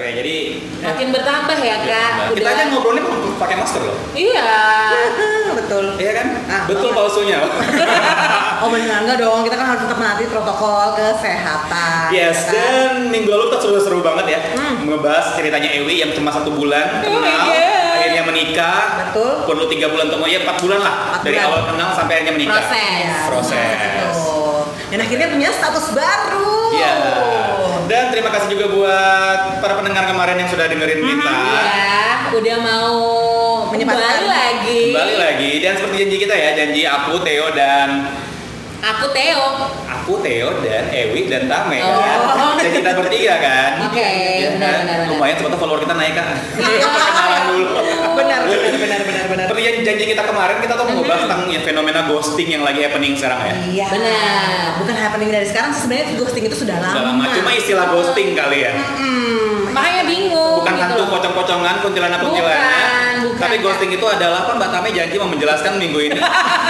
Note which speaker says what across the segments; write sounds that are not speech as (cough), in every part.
Speaker 1: Iya,
Speaker 2: ya,
Speaker 3: Ah,
Speaker 1: kan
Speaker 2: Iya.
Speaker 3: (laughs) betul.
Speaker 1: Iya kan?
Speaker 3: Ah,
Speaker 1: Betul
Speaker 3: banget.
Speaker 1: (laughs) palsunya. Ah.
Speaker 3: Oh beneran enggak dong, kita kan harus tetap menaati protokol kesehatan.
Speaker 1: Yes, eh,
Speaker 3: ya kan?
Speaker 1: dan minggu lalu kita sudah seru banget ya
Speaker 3: Hmm. Iya,
Speaker 1: Ngebahas ceritanya Ewi yang cuma satu bulan
Speaker 2: Oh my
Speaker 1: kenal
Speaker 2: God.
Speaker 1: Akhirnya menikah
Speaker 3: Betul.
Speaker 1: Perlu tiga bulan atau ya empat bulan lah
Speaker 3: Empat
Speaker 1: Dari
Speaker 3: bulan.
Speaker 1: awal kenal sampai akhirnya menikah
Speaker 2: Proses.
Speaker 1: Proses
Speaker 3: Iya, Betul. Dan akhirnya punya status baru.
Speaker 1: Iya.
Speaker 3: Oh.
Speaker 1: Dan terima kasih juga buat para pendengar kemarin yang sudah dengerin kita
Speaker 3: Hmm, iya.
Speaker 2: Ya, udah mau
Speaker 3: Menyempatkan.
Speaker 2: kembali lagi.
Speaker 1: Kembali lagi, dan seperti janji kita ya Janji aku, Theo, dan
Speaker 2: Aku Theo.
Speaker 1: Aku, Theo, dan Ewi, dan Tame
Speaker 2: Oh.
Speaker 1: kan Dan kita bertiga kan
Speaker 2: Oke,
Speaker 1: Ya
Speaker 2: benar,
Speaker 1: kan?
Speaker 2: benar, benar.
Speaker 1: Lumayan, sebetulnya follower kita naik kan Kenalan dulu
Speaker 3: Iya. Benar, benar, benar, benar, benar.
Speaker 1: Seperti yang janji kita kemarin, kita tuh mau
Speaker 3: Mm-hmm.
Speaker 2: Mhm.
Speaker 1: ngebahas tentang ya, fenomena ghosting yang lagi happening sekarang ya.
Speaker 3: Iya.
Speaker 2: Benar.
Speaker 3: Bukan happening dari sekarang sih sebenarnya ghosting itu sudah lama.
Speaker 1: Udah lama, cuma istilah ghosting kali ya.
Speaker 3: Mm-mm.
Speaker 2: Makanya
Speaker 3: Oh,
Speaker 2: bingung.
Speaker 1: Bukan
Speaker 2: gitu
Speaker 1: hantu
Speaker 2: loh.
Speaker 1: pocong-pocongan, kuntilanak-kuntilanak.
Speaker 2: Bukan, bukan.
Speaker 1: Tapi ghosting itu adalah apa Mbak Tame janji mau menjelaskan minggu ini.
Speaker 3: (laughs)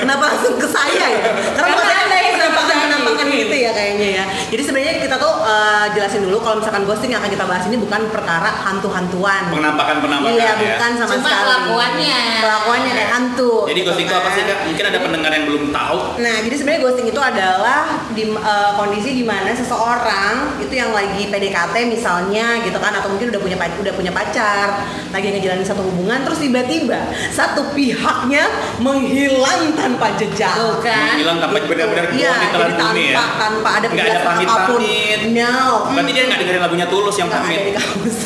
Speaker 3: Kenapa langsung ke saya ya? Karena
Speaker 2: Karena
Speaker 3: Mas Eka
Speaker 2: Anda yang
Speaker 3: penampakan
Speaker 2: terjadi.
Speaker 3: penampakan
Speaker 2: Hmm.
Speaker 3: gitu ya kayaknya ya. Jadi sebenarnya kita tuh eh, jelasin dulu kalau misalkan ghosting yang akan kita bahas ini bukan perkara hantu-hantuan.
Speaker 1: Penampakan-penampakan
Speaker 3: Iya,
Speaker 1: ya.
Speaker 3: bukan sama
Speaker 2: Cuma
Speaker 3: sekali.
Speaker 2: kelakuannya.
Speaker 3: Kelakuannya kayak hantu.
Speaker 1: Jadi
Speaker 3: gitu
Speaker 1: ghosting itu apa sih
Speaker 3: kan.
Speaker 1: Kak? Mungkin ada pendengar yang belum tahu.
Speaker 3: Nah, jadi sebenarnya ghosting itu adalah di eh, kondisi di mana seseorang itu yang lagi PDKT misalnya gitu kan atau mungkin udah punya pac- udah punya pacar, lagi ngejalanin satu hubungan terus tiba-tiba satu pihaknya menghilang tanpa jejak.
Speaker 2: Tuh kan.
Speaker 1: Menghilang tanpa benar-benar
Speaker 3: Iya,
Speaker 1: gua ditelan
Speaker 3: jadi
Speaker 1: bumi
Speaker 3: tanpa
Speaker 1: ya.
Speaker 3: tanpa
Speaker 1: Nggak
Speaker 3: ada
Speaker 1: ada
Speaker 3: penjelasan apapun.
Speaker 1: pamit-pamit.
Speaker 3: No.
Speaker 1: Berarti dia nggak dengerin lagunya tulus yang
Speaker 3: Nggak ada di
Speaker 1: pamit.
Speaker 3: kampus.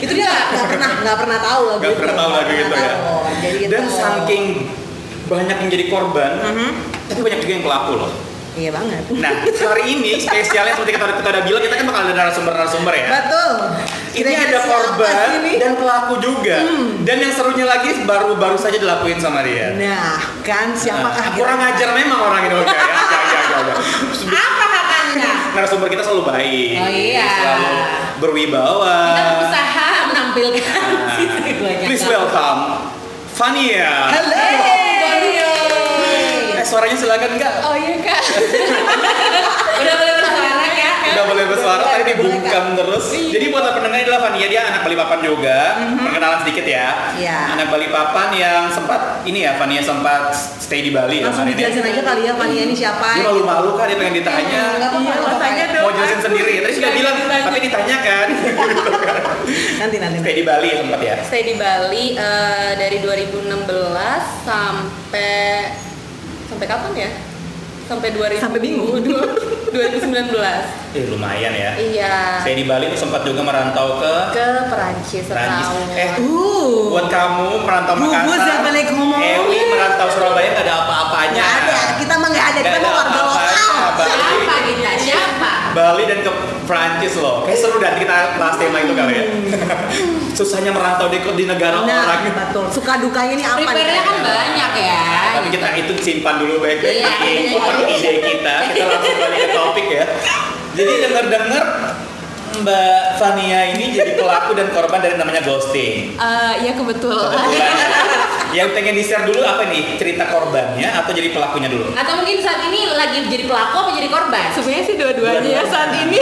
Speaker 3: itu dia nggak pernah nggak pernah tahu lagu
Speaker 1: Nggak pernah tahu lagu
Speaker 3: Nggak
Speaker 1: gitu ya.
Speaker 3: tahu. Jadi
Speaker 1: Dan
Speaker 3: gitu.
Speaker 1: saking banyak yang jadi korban,
Speaker 3: Mhm.
Speaker 1: tapi banyak juga yang pelaku loh.
Speaker 3: Iya banget.
Speaker 1: Nah, hari ini spesialnya seperti kita, kita udah bilang, kita kan bakal ada narasumber-narasumber ya.
Speaker 3: Betul.
Speaker 1: Ini
Speaker 3: Kira-kira
Speaker 1: ada
Speaker 3: siapa
Speaker 1: korban
Speaker 3: sih ini? Hmm.
Speaker 1: dan pelaku juga. Dan yang serunya lagi baru baru saja dilakuin sama dia.
Speaker 3: Nah, kan siapakah
Speaker 1: Nah,
Speaker 3: kira-kira?
Speaker 1: kurang ajar memang orang ini Olga ya. Ya, ya, ya, ya.
Speaker 2: Apa katanya?
Speaker 1: Narasumber kita selalu baik.
Speaker 2: Oh, iya.
Speaker 1: Selalu berwibawa.
Speaker 2: Kita berusaha menampilkan (laughs)
Speaker 1: Nah,
Speaker 2: sisi banyak.
Speaker 1: Eh. please welcome Fania.
Speaker 3: Halo.
Speaker 2: Hey.
Speaker 3: Antonio.
Speaker 1: Eh, suaranya silakan enggak?
Speaker 2: Oh iya kak. Udah boleh bersuara ya.
Speaker 1: Udah boleh bersuara
Speaker 3: Boleh,
Speaker 1: tadi
Speaker 3: boleh,
Speaker 1: dibungkam terus.
Speaker 2: Iya.
Speaker 1: Jadi buat pendengar ini adalah Fania dia anak Balikpapan juga. Perkenalan sedikit ya.
Speaker 3: Mhm. Iya.
Speaker 1: Anak Balikpapan yang sempat ini ya Fania sempat stay di Bali ya
Speaker 3: Langsung
Speaker 1: kemarin ya.
Speaker 3: dijelasin aja kali ya Fania ini siapa?
Speaker 1: Dia malu-malu kan dia pengen ditanya.
Speaker 3: Enggak apa-apa,
Speaker 2: Iya,
Speaker 3: nggak apa-apa.
Speaker 2: tanya dong. Iya,
Speaker 1: Mau jelasin sendiri, tadi
Speaker 3: Iya,
Speaker 1: sudah bilang,
Speaker 2: Ditanya.
Speaker 1: tapi ditanya kan.
Speaker 3: Nanti nanti. nanti.
Speaker 1: Stay di Bali ya sempat ya.
Speaker 2: Saya di Bali eh, dari 2016 sampai sampai kapan ya? Sampai 2000
Speaker 3: Sampai bingung.
Speaker 2: 2019.
Speaker 1: Eh, lumayan ya.
Speaker 2: Iya.
Speaker 1: Saya di Bali tuh sempat juga merantau ke
Speaker 2: Ke Perancis
Speaker 1: Perancis.
Speaker 2: setahun.
Speaker 1: Eh,
Speaker 3: Uh.
Speaker 1: buat kamu merantau
Speaker 3: Gugus ya,
Speaker 1: Makassar.
Speaker 3: balik ngomong.
Speaker 1: Ewi merantau Surabaya nggak ada apa-apanya.
Speaker 3: Nggak ada, kita mah nggak ada, kita
Speaker 1: Nggak
Speaker 3: mah warga
Speaker 1: apa-apanya,
Speaker 3: lokal.
Speaker 1: Bali.
Speaker 2: Siapa gitu? kita? Siapa?
Speaker 1: Bali dan ke Prancis loh. Kayak seru dan kita bahas tema itu kali ya.
Speaker 2: Hmm.
Speaker 1: Susahnya merantau di, di negara
Speaker 3: Nah,
Speaker 1: orang.
Speaker 3: betul. Suka dukanya ini apa? nih?
Speaker 2: Prepare-nya kan banyak ya.
Speaker 1: Tapi kita itu simpan dulu baik-baik.
Speaker 2: Iya,
Speaker 1: Ini
Speaker 2: iya,
Speaker 1: bukan
Speaker 2: iya.
Speaker 1: ide kita. Kita langsung balik ke topik ya. Jadi dengar-dengar Mbak Fania ini jadi pelaku dan korban dari namanya
Speaker 2: (laughs)
Speaker 1: ghosting.
Speaker 2: Eh, ya kebetulan.
Speaker 1: Kebetulan. (laughs) Yang pengen di-share dulu apa nih? Cerita korbannya atau jadi pelakunya dulu?
Speaker 2: Atau mungkin saat ini lagi jadi pelaku apa jadi korban?
Speaker 4: Sebenarnya sih dua-duanya ya saat ini.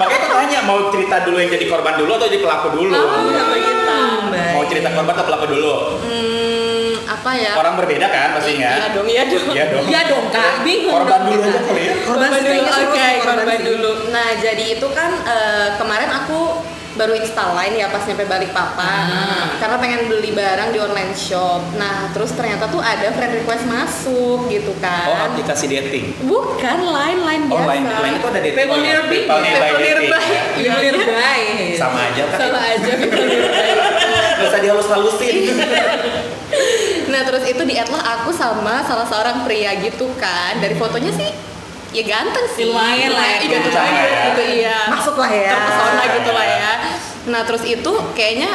Speaker 1: Makanya aku tanya mau cerita dulu yang jadi korban dulu atau jadi pelaku dulu?
Speaker 2: Oh,
Speaker 3: Sama kita, Mbak.
Speaker 1: Mau cerita korban atau pelaku dulu?
Speaker 2: Hmm, apa ya?
Speaker 1: Orang berbeda kan
Speaker 4: Iya
Speaker 1: pastinya.
Speaker 4: dong, iya dong.
Speaker 1: Iya dong.
Speaker 2: Iya dong kak, bingung
Speaker 1: Korban
Speaker 2: dong
Speaker 1: dulu
Speaker 2: kita.
Speaker 1: aja kali ya.
Speaker 3: Korban sih
Speaker 4: dulu,
Speaker 3: kayaknya seru
Speaker 4: oke,
Speaker 3: sih, korban
Speaker 4: korban
Speaker 3: sih.
Speaker 4: dulu.
Speaker 2: Nah jadi itu kan eh, kemarin aku baru install line ya pas nyampe balik papan karena pengen beli barang di online shop. Nah terus ternyata tuh ada friend request masuk gitu kan.
Speaker 1: Oh aplikasi dating.
Speaker 2: Bukan line line
Speaker 1: Oh,
Speaker 2: biasa.
Speaker 1: line- line itu ada dating.
Speaker 2: People nearby.
Speaker 1: People nearby dating.
Speaker 2: Iya.
Speaker 4: People nearby.
Speaker 1: Sama aja kan. (laughs)
Speaker 2: Sama aja people nearby.
Speaker 1: Gak usah dihalus-halusin.
Speaker 2: Nah terus itu di add lah aku sama salah seorang pria gitu kan. Dari fotonya sih ya ganteng sih.
Speaker 4: Lumayan lah ya.
Speaker 2: Ih, ganteng
Speaker 1: Sama
Speaker 2: banget
Speaker 1: ya.
Speaker 2: gitu iya.
Speaker 3: Masuk lah ya.
Speaker 2: terpesona gitu lah ya. Nah terus itu kayaknya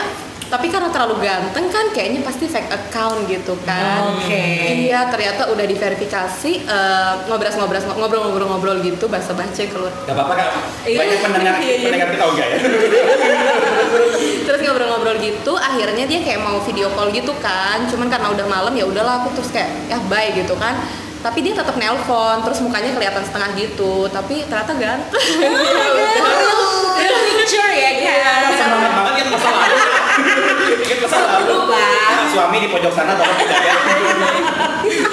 Speaker 2: tapi karena terlalu ganteng kan kayaknya pasti fake account gitu kan.
Speaker 3: Oke.
Speaker 2: Iya ternyata udah diverifikasi eh, ngobras-ngobras ngobrol-ngobrol-ngobrol gitu bahasa baca keluar.
Speaker 1: Gak apa-apa kak. Banyak
Speaker 2: Iya,
Speaker 1: pendengar
Speaker 2: iya, iya.
Speaker 1: pendengar kita enggak ya.
Speaker 2: Terus ngobrol-ngobrol gitu akhirnya dia kayak mau video call gitu kan. Cuman karena udah malam ya udahlah aku terus kayak ya bye gitu kan. Tapi dia tetap nelpon, terus mukanya kelihatan setengah gitu, tapi ternyata ganteng.
Speaker 3: Seru. real picture ya
Speaker 1: Kan
Speaker 3: guys.
Speaker 1: semangat banget yang kesal aku. Yang kesal aku.
Speaker 3: Berubah.
Speaker 1: Iya, Suami di pojok sana tolong kita ya.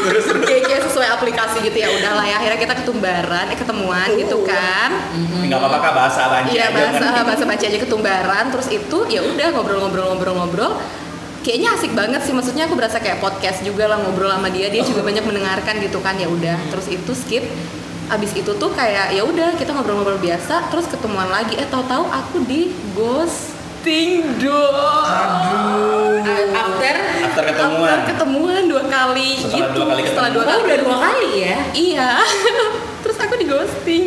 Speaker 1: Terus terus.
Speaker 2: Jadi kayak sesuai aplikasi gitu ya udahlah ya akhirnya kita ketumbaran, eh ketemuan gitu kan.
Speaker 1: Enggak apa-apa Kak, Mm-hmm. bahasa banci
Speaker 2: Iya
Speaker 1: aja
Speaker 2: bahasa
Speaker 1: kan.
Speaker 2: bahasa baca aja ketumbaran terus itu ya udah ngobrol-ngobrol-ngobrol-ngobrol. Kayaknya asik banget sih maksudnya aku berasa kayak podcast juga lah ngobrol sama dia dia
Speaker 1: Oh.
Speaker 2: juga banyak mendengarkan gitu kan ya udah terus itu skip abis itu tuh kayak ya udah kita ngobrol-ngobrol biasa terus ketemuan lagi eh tahu-tahu aku di ghosting dong
Speaker 3: After
Speaker 1: After ketemuan.
Speaker 2: After ketemuan dua kali
Speaker 1: Setelah
Speaker 2: gitu
Speaker 1: dua kali
Speaker 2: setelah dua
Speaker 1: ketemu.
Speaker 2: kali
Speaker 3: Oh, udah dua kali ya?
Speaker 2: iya (laughs) terus aku di ghosting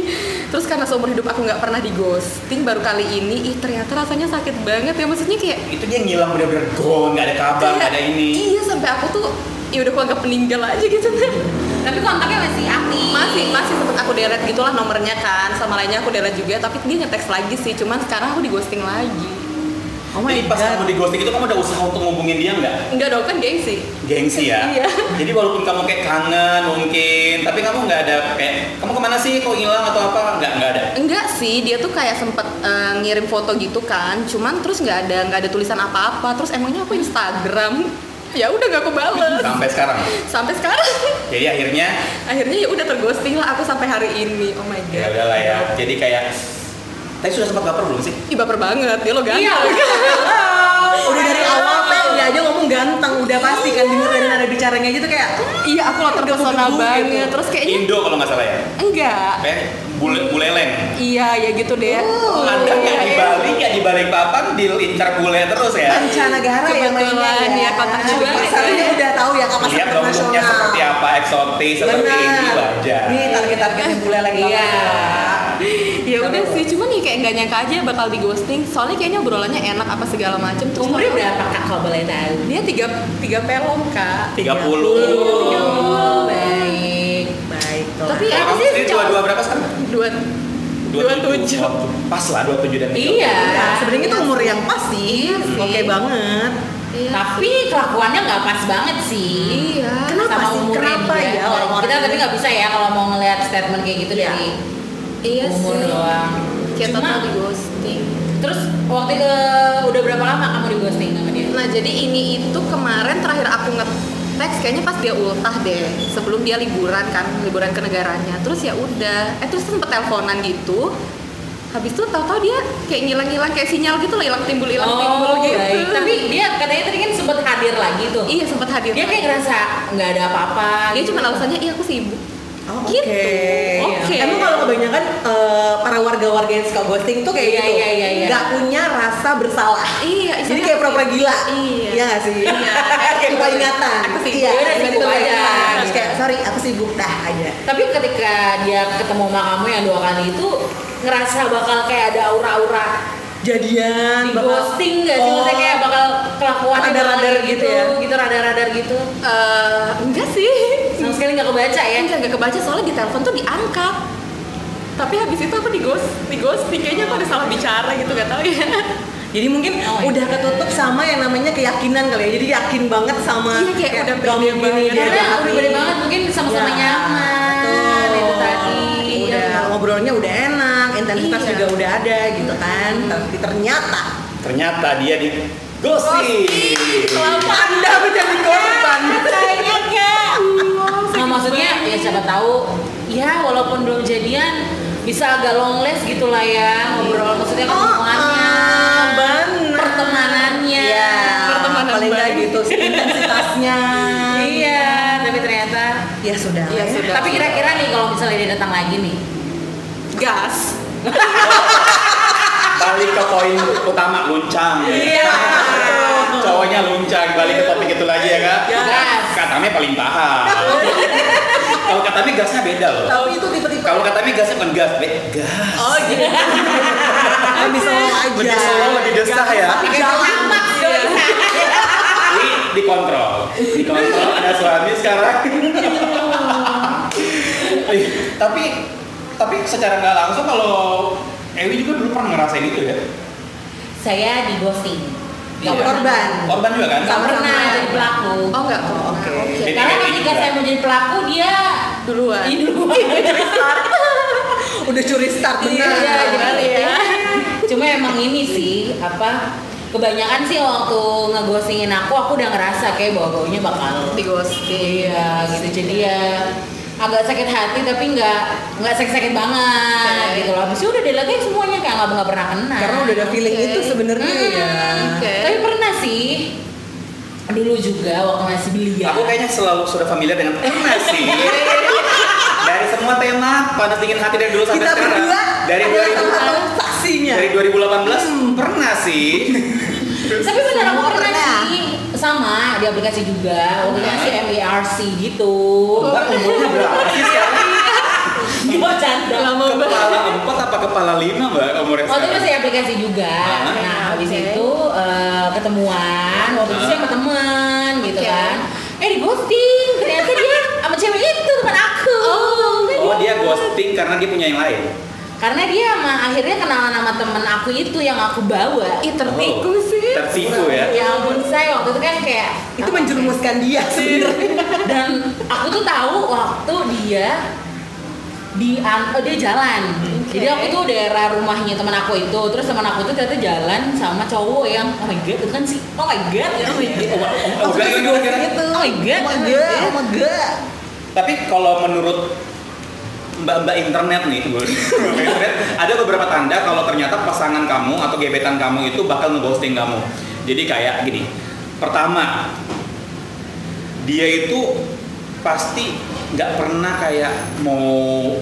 Speaker 2: terus karena seumur hidup aku nggak pernah di ghosting baru kali ini ih ternyata rasanya sakit banget ya maksudnya kayak
Speaker 1: Itu dia ngilang bener-bener gone, nggak ada kabar, nggak
Speaker 2: kayak-
Speaker 1: ada ini.
Speaker 2: iya sampai aku tuh ya udah aku anggap peninggal aja gitu (laughs)
Speaker 4: Tapi kontaknya masih aktif.
Speaker 2: masih masih sempet aku delete gitulah nomornya kan sama lainnya aku delete juga tapi dia nge-text lagi sih cuman sekarang aku di ghosting lagi
Speaker 3: Oh my
Speaker 1: Jadi pas kamu
Speaker 3: god.
Speaker 1: di ghosting itu kamu ada usaha untuk ngubungin dia nggak?
Speaker 2: enggak dong kan gengsi
Speaker 1: gengsi ya.
Speaker 2: Iya.
Speaker 1: Jadi walaupun kamu kayak kangen mungkin, tapi kamu nggak ada kayak kamu kemana sih kok hilang atau apa nggak nggak ada.
Speaker 2: Enggak sih, dia tuh kayak sempet eh, ngirim foto gitu kan, cuman terus nggak ada nggak ada tulisan apa-apa, terus emangnya aku Instagram, ya udah nggak aku bales
Speaker 1: Sampai sekarang.
Speaker 2: sampai sekarang. (laughs)
Speaker 1: Jadi akhirnya
Speaker 2: Akhirnya ya udah terghosting lah aku sampai hari ini, oh my
Speaker 1: ya
Speaker 2: god.
Speaker 1: udahlah ya. Jadi kayak tapi sudah sempat baper belum sih?
Speaker 2: Ih baper banget, ya lo
Speaker 3: Iya.
Speaker 2: ganteng.
Speaker 3: Udah dari
Speaker 2: Iya.
Speaker 3: awal pengen aja ngomong ganteng, udah pasti kan denger dari nada bicaranya gitu kayak
Speaker 2: (laughs) Iya aku lah terpesona
Speaker 3: Gebu-gebu
Speaker 2: banget,
Speaker 3: gitu.
Speaker 2: terus kayaknya
Speaker 1: Indo kalau nggak salah ya.
Speaker 2: enggak.
Speaker 1: Kayak bule buleleng.
Speaker 2: Iya ya gitu deh.
Speaker 3: Oh,
Speaker 1: Anda nggak
Speaker 2: Iya,
Speaker 1: di
Speaker 2: iya.
Speaker 1: Bali, nggak di balik papan, diincar bule terus ya.
Speaker 3: Pancanagara ya mainnya
Speaker 2: Kebetulan ya, kontaknya juga.
Speaker 3: Pasarnya udah tahu ya
Speaker 1: Lihat
Speaker 3: kapasitas
Speaker 1: bentuknya
Speaker 3: internasional.
Speaker 1: Iya, seperti apa, eksotis seperti ini
Speaker 3: Benar. Iya,
Speaker 1: aja.
Speaker 3: Nih target-targetnya bule lagi.
Speaker 2: Iya. Ya
Speaker 3: Kamu-
Speaker 2: udah sih, cuman ya kayak nggak nyangka aja bakal di ghosting. Soalnya kayaknya obrolannya enak apa segala macem. Terus
Speaker 4: Umurnya berapa kak kalau boleh tahu?
Speaker 2: Dia tiga tiga pelong kak.
Speaker 1: 30.
Speaker 4: Oh,
Speaker 3: Baik, baik.
Speaker 2: Tapi
Speaker 1: Kalau
Speaker 2: apa
Speaker 1: kamu
Speaker 2: sih
Speaker 1: sendiri
Speaker 2: cowok-
Speaker 1: dua-dua berapa sekarang?
Speaker 2: dua dua tujuh.
Speaker 1: Oh, Pas lah 27 dan 30.
Speaker 4: Iya.
Speaker 3: Iya, sebenarnya itu umur yang pas sih.
Speaker 4: Iya sih.
Speaker 3: Oke banget.
Speaker 4: Tapi kelakuannya nggak pas banget sih.
Speaker 2: Iya.
Speaker 3: Kenapa
Speaker 4: Sama
Speaker 3: sih?
Speaker 4: umurnya
Speaker 3: Kenapa
Speaker 4: dia.
Speaker 3: ya orang-orang
Speaker 4: Kita
Speaker 3: ini?
Speaker 4: tapi nggak bisa ya kalau mau ngelihat statement kayak gitu
Speaker 3: Iya.
Speaker 4: dari
Speaker 2: Iya
Speaker 4: umur
Speaker 2: sih.
Speaker 4: doang.
Speaker 2: Kita
Speaker 4: Cuma
Speaker 2: tuh di ghosting.
Speaker 4: terus waktu itu eh, udah berapa lama kamu di ghosting sama dia?
Speaker 2: Nah jadi ini itu kemarin terakhir aku nge-text kayaknya pas dia ultah deh sebelum dia liburan kan liburan ke negaranya terus ya udah eh terus sempet teleponan gitu habis itu tahu-tahu dia kayak ngilang-ngilang kayak sinyal gitu loh hilang timbul
Speaker 3: Oh,
Speaker 2: hilang timbul gitu
Speaker 4: Oh, baik.
Speaker 2: (laughs)
Speaker 4: Tapi dia katanya tadi kan sempet hadir lagi tuh.
Speaker 2: iya sempet hadir
Speaker 4: Dia kayak ngerasa nggak ada apa-apa.
Speaker 2: dia
Speaker 4: gitu.
Speaker 2: cuma alasannya iya aku sibuk
Speaker 3: Oh,
Speaker 2: Gitu.
Speaker 3: Oke.
Speaker 4: Oke.
Speaker 3: Emang kalau kebanyakan eh, para warga-warga yang suka ghosting tuh kayak
Speaker 4: Iya,
Speaker 3: gitu.
Speaker 4: iya, iya, iya.
Speaker 3: Nggak punya rasa bersalah.
Speaker 2: iya
Speaker 3: Jadi
Speaker 2: istilahnya
Speaker 3: kayak
Speaker 2: aku
Speaker 3: pura-pura gila.
Speaker 2: Iya.
Speaker 3: Iya nggak sih?
Speaker 2: Iya.
Speaker 3: (laughs) kayak lupa ingatan.
Speaker 2: Aku sibuk.
Speaker 3: Iya,
Speaker 4: Yaudah,
Speaker 3: gitu
Speaker 4: sibuk aja.
Speaker 3: aja. Terus kayak sorry, aku sibuk dah aja.
Speaker 4: Tapi ketika dia ketemu sama kamu yang dua kali itu ngerasa bakal kayak ada aura-aura
Speaker 3: Jadian, Kan
Speaker 4: di
Speaker 3: bakal- Oh.
Speaker 4: ghosting gak sih? Maksudnya kayak bakal kelakuan
Speaker 3: Radar-radar gitu ya?
Speaker 4: gitu radar-radar gitu.
Speaker 2: Eh, enggak sih
Speaker 4: Sama sekali nggak kebaca ya.
Speaker 2: Enggak, enggak kebaca soalnya di telepon tuh diangkat. Tapi habis itu aku di ghost, di ghosting kayaknya aku ada salah bicara gitu, gak tahu ya. (laughs)
Speaker 3: Jadi mungkin
Speaker 4: Oh,
Speaker 3: udah ketutup sama yang namanya keyakinan kali ya. Jadi yakin banget sama
Speaker 2: Iya, kayak udah
Speaker 3: gak
Speaker 2: pede
Speaker 3: mungkin
Speaker 2: banget.
Speaker 3: dia
Speaker 4: Karena
Speaker 3: jahatin.
Speaker 4: udah gede banget mungkin sama-sama
Speaker 3: Ya,
Speaker 4: nyaman
Speaker 3: betul. Iya.
Speaker 4: itu tadi. Iya,
Speaker 3: Udah ngobrolnya udah enak, intensitas
Speaker 2: Iya.
Speaker 3: juga udah ada gitu kan.
Speaker 4: Iya.
Speaker 3: Tapi ternyata
Speaker 1: Ternyata dia di ghosting.
Speaker 3: Kenapa Anda menjadi korban?
Speaker 4: (laughs) Sayangnya enggak. Nah, maksudnya ya siapa tahu ya walaupun belum jadian bisa agak long last gitu lah ya ngobrol maksudnya
Speaker 3: Oh,
Speaker 4: hubungannya
Speaker 3: ah, benar.
Speaker 4: pertemanannya
Speaker 3: Iya,
Speaker 2: Pertemanan
Speaker 3: paling nggak
Speaker 2: baik.
Speaker 3: gitu sih intensitasnya.
Speaker 4: (laughs) iya tapi ternyata
Speaker 3: Ya sudah.
Speaker 2: Iya,
Speaker 3: ya.
Speaker 2: sudah.
Speaker 4: tapi kira-kira nih kalau misalnya dia datang lagi nih
Speaker 2: Gas.
Speaker 1: Balik ke poin utama luncang.
Speaker 3: Iya.
Speaker 1: Cowoknya luncang, balik ke topik itu lagi ya kak.
Speaker 4: Gas.
Speaker 1: Katanya paling paham. Kalau katanya gasnya beda loh.
Speaker 3: Tapi itu tipe-tipe
Speaker 1: Kalau katanya gasnya bukan gas, be gas.
Speaker 2: Oh gitu.
Speaker 3: lebih slow Kan aja.
Speaker 1: Lebih slow, lebih desah ya. Iya.
Speaker 3: Jangan.
Speaker 1: Ini dikontrol, dikontrol. Ada suami sekarang. Eh, tapi tapi secara nggak langsung kalau Ewi juga dulu pernah ngerasain itu ya.
Speaker 4: saya di ghosting Nggak
Speaker 1: Iya.
Speaker 3: Korban.
Speaker 1: Korban juga kan?
Speaker 4: nggak pernah
Speaker 3: Sama-sama.
Speaker 4: jadi pelaku
Speaker 2: Oh enggak.
Speaker 3: Oh, oke.
Speaker 2: Oke.
Speaker 1: Jadi-
Speaker 4: karena ketika saya mau jadi pelaku dia
Speaker 2: Duluan.
Speaker 4: ini dulu
Speaker 3: Udah curi start benar.
Speaker 4: Iya,
Speaker 2: benar
Speaker 4: jadi
Speaker 2: ya.
Speaker 4: Cuma emang ini sih apa kebanyakan sih waktu ngegosingin aku aku udah ngerasa kayak bau baunya bakal
Speaker 2: di ghosting
Speaker 4: iya gitu jadi ya agak sakit hati tapi nggak nggak sakit sakit banget
Speaker 2: Oke.
Speaker 4: gitu loh. Habis itu udah delete semuanya kayak nggak nggak pernah kena.
Speaker 3: Karena udah ada feeling
Speaker 2: Oke.
Speaker 3: itu sebenarnya
Speaker 4: Hmm,
Speaker 3: ya.
Speaker 2: oke.
Speaker 4: Tapi pernah sih dulu juga waktu masih ya.
Speaker 3: Iya.
Speaker 4: belia.
Speaker 1: Aku kayaknya selalu sudah familiar dengan tema sih. dari semua tema panas dingin hati dari dulu sampai
Speaker 3: Kita
Speaker 1: sekarang.
Speaker 3: berdua Iya.
Speaker 1: dari
Speaker 3: adalah
Speaker 1: 2000
Speaker 3: salah satu saksinya.
Speaker 1: dari 2018
Speaker 3: Hmm.
Speaker 1: pernah sih.
Speaker 4: Tapi bener aku
Speaker 3: Semua
Speaker 4: pernah
Speaker 3: pernah.
Speaker 4: sih sama di aplikasi juga waktu
Speaker 1: Hmm.
Speaker 4: masih MERC E gitu.
Speaker 1: Mbak Oh,
Speaker 4: (laughs)
Speaker 1: umurnya berapa sih sekarang?
Speaker 4: Gua canda.
Speaker 1: Kepala empat apa kepala lima mbak umurnya
Speaker 4: Waktu itu
Speaker 1: sekarang?
Speaker 4: masih aplikasi juga.
Speaker 1: Ah.
Speaker 4: Nah, habis
Speaker 2: Oke.
Speaker 4: itu eh, ketemuan, waktu itu sih sama teman gitu
Speaker 2: Oke.
Speaker 4: kan. Eh di ghosting, ternyata dia sama cewek itu teman aku. Kan gitu.
Speaker 1: Oh dia ghosting karena dia punya yang lain.
Speaker 4: Karena dia sama akhirnya kenalan sama temen aku itu yang aku bawa.
Speaker 2: Ih tertipu sih
Speaker 1: Oh, Tertipu ya.
Speaker 4: Ya ampun saya waktu itu kan kayak
Speaker 3: Itu menjerumuskan
Speaker 1: Iya.
Speaker 3: dia sebenarnya.
Speaker 4: dan aku tuh tahu waktu dia di an- eh, dia jalan.
Speaker 2: Oke.
Speaker 4: Jadi aku tuh daerah rumahnya teman aku itu, terus teman aku tuh ternyata jalan sama cowok yang oh my god itu kan si oh my god
Speaker 1: Oh, gak, gak,
Speaker 4: oh my god
Speaker 1: gak, gak.
Speaker 3: Gitu.
Speaker 4: Oh my God.
Speaker 3: Oh my god. Oh my god.
Speaker 1: Tapi kalau menurut mbak-mbak internet nih, (laughs) Bu, mbak internet, ada beberapa tanda kalau ternyata pasangan kamu atau gebetan kamu itu bakal ngeghosting kamu. Jadi kayak gini, pertama dia itu pasti nggak pernah kayak mau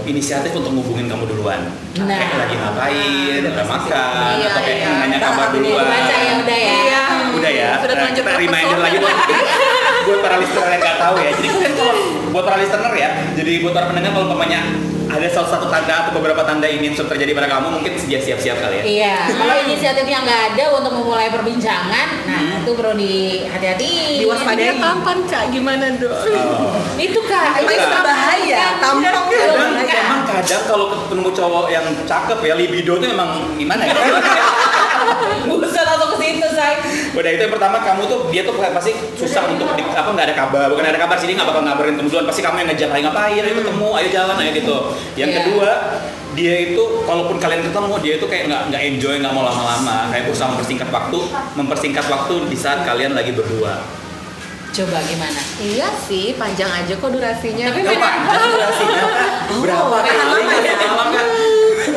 Speaker 1: inisiatif untuk ngubungin kamu duluan.
Speaker 4: Nah.
Speaker 1: Kayak lagi ngapain, udah makan,
Speaker 2: Iya,
Speaker 1: atau kayak
Speaker 2: iya.
Speaker 1: nanya
Speaker 3: Entah
Speaker 1: kabar
Speaker 3: apa dia
Speaker 1: duluan.
Speaker 4: baca ya udah ya.
Speaker 2: Iya.
Speaker 1: Udah ya.
Speaker 2: Sudah
Speaker 1: Nah,
Speaker 2: terlanjur
Speaker 1: kita reminder
Speaker 2: terpesona.
Speaker 1: lagi buat (laughs) buat para listener yang nggak tahu ya. Jadi kalian kalau buat para listener ya. Jadi buat para pendengar kalau umpamanya ada salah satu tanda atau beberapa tanda ini sudah terjadi pada kamu mungkin sudah siap-siap kali ya.
Speaker 4: Iya, kalau inisiatif yang nggak ada untuk memulai perbincangan, nah
Speaker 1: Hmm.
Speaker 4: itu perlu di
Speaker 2: Dia
Speaker 4: hati-hati.
Speaker 3: Diwaspadai.
Speaker 2: tampan kak gimana dong
Speaker 1: Oh.
Speaker 2: (laughs)
Speaker 4: Itu
Speaker 2: Iya.
Speaker 4: kak,
Speaker 1: Tampang. kan?
Speaker 3: Itu
Speaker 1: Iya.
Speaker 3: bahaya. Tampang itu
Speaker 1: Kadang,
Speaker 3: bahaya.
Speaker 1: emang kadang kalau ketemu cowok yang cakep ya libido tuh emang gimana ya?
Speaker 2: (laughs)
Speaker 4: Buset langsung ke situ say.
Speaker 1: Udah itu yang pertama kamu tuh dia tuh pasti susah untuk di- apa nggak ada kabar bukan nggak ada kabar sini nggak bakal ngabarin kamu duluan pasti kamu yang ngejar ayo ngapain ayo ketemu ayo jalan ayo gitu yang
Speaker 4: Iya.
Speaker 1: kedua dia itu kalaupun kalian ketemu dia itu kayak nggak nggak enjoy nggak mau lama-lama kayak berusaha mempersingkat waktu mempersingkat waktu di saat kalian lagi berdua
Speaker 4: Coba gimana?
Speaker 2: Iya sih panjang aja kok durasinya
Speaker 4: Tapi
Speaker 1: Itu
Speaker 4: memang-
Speaker 2: (laughs)
Speaker 1: panjang durasinya Kak. berapa
Speaker 3: Oh,
Speaker 1: kali
Speaker 3: lama ya?
Speaker 1: berapa lama Kak?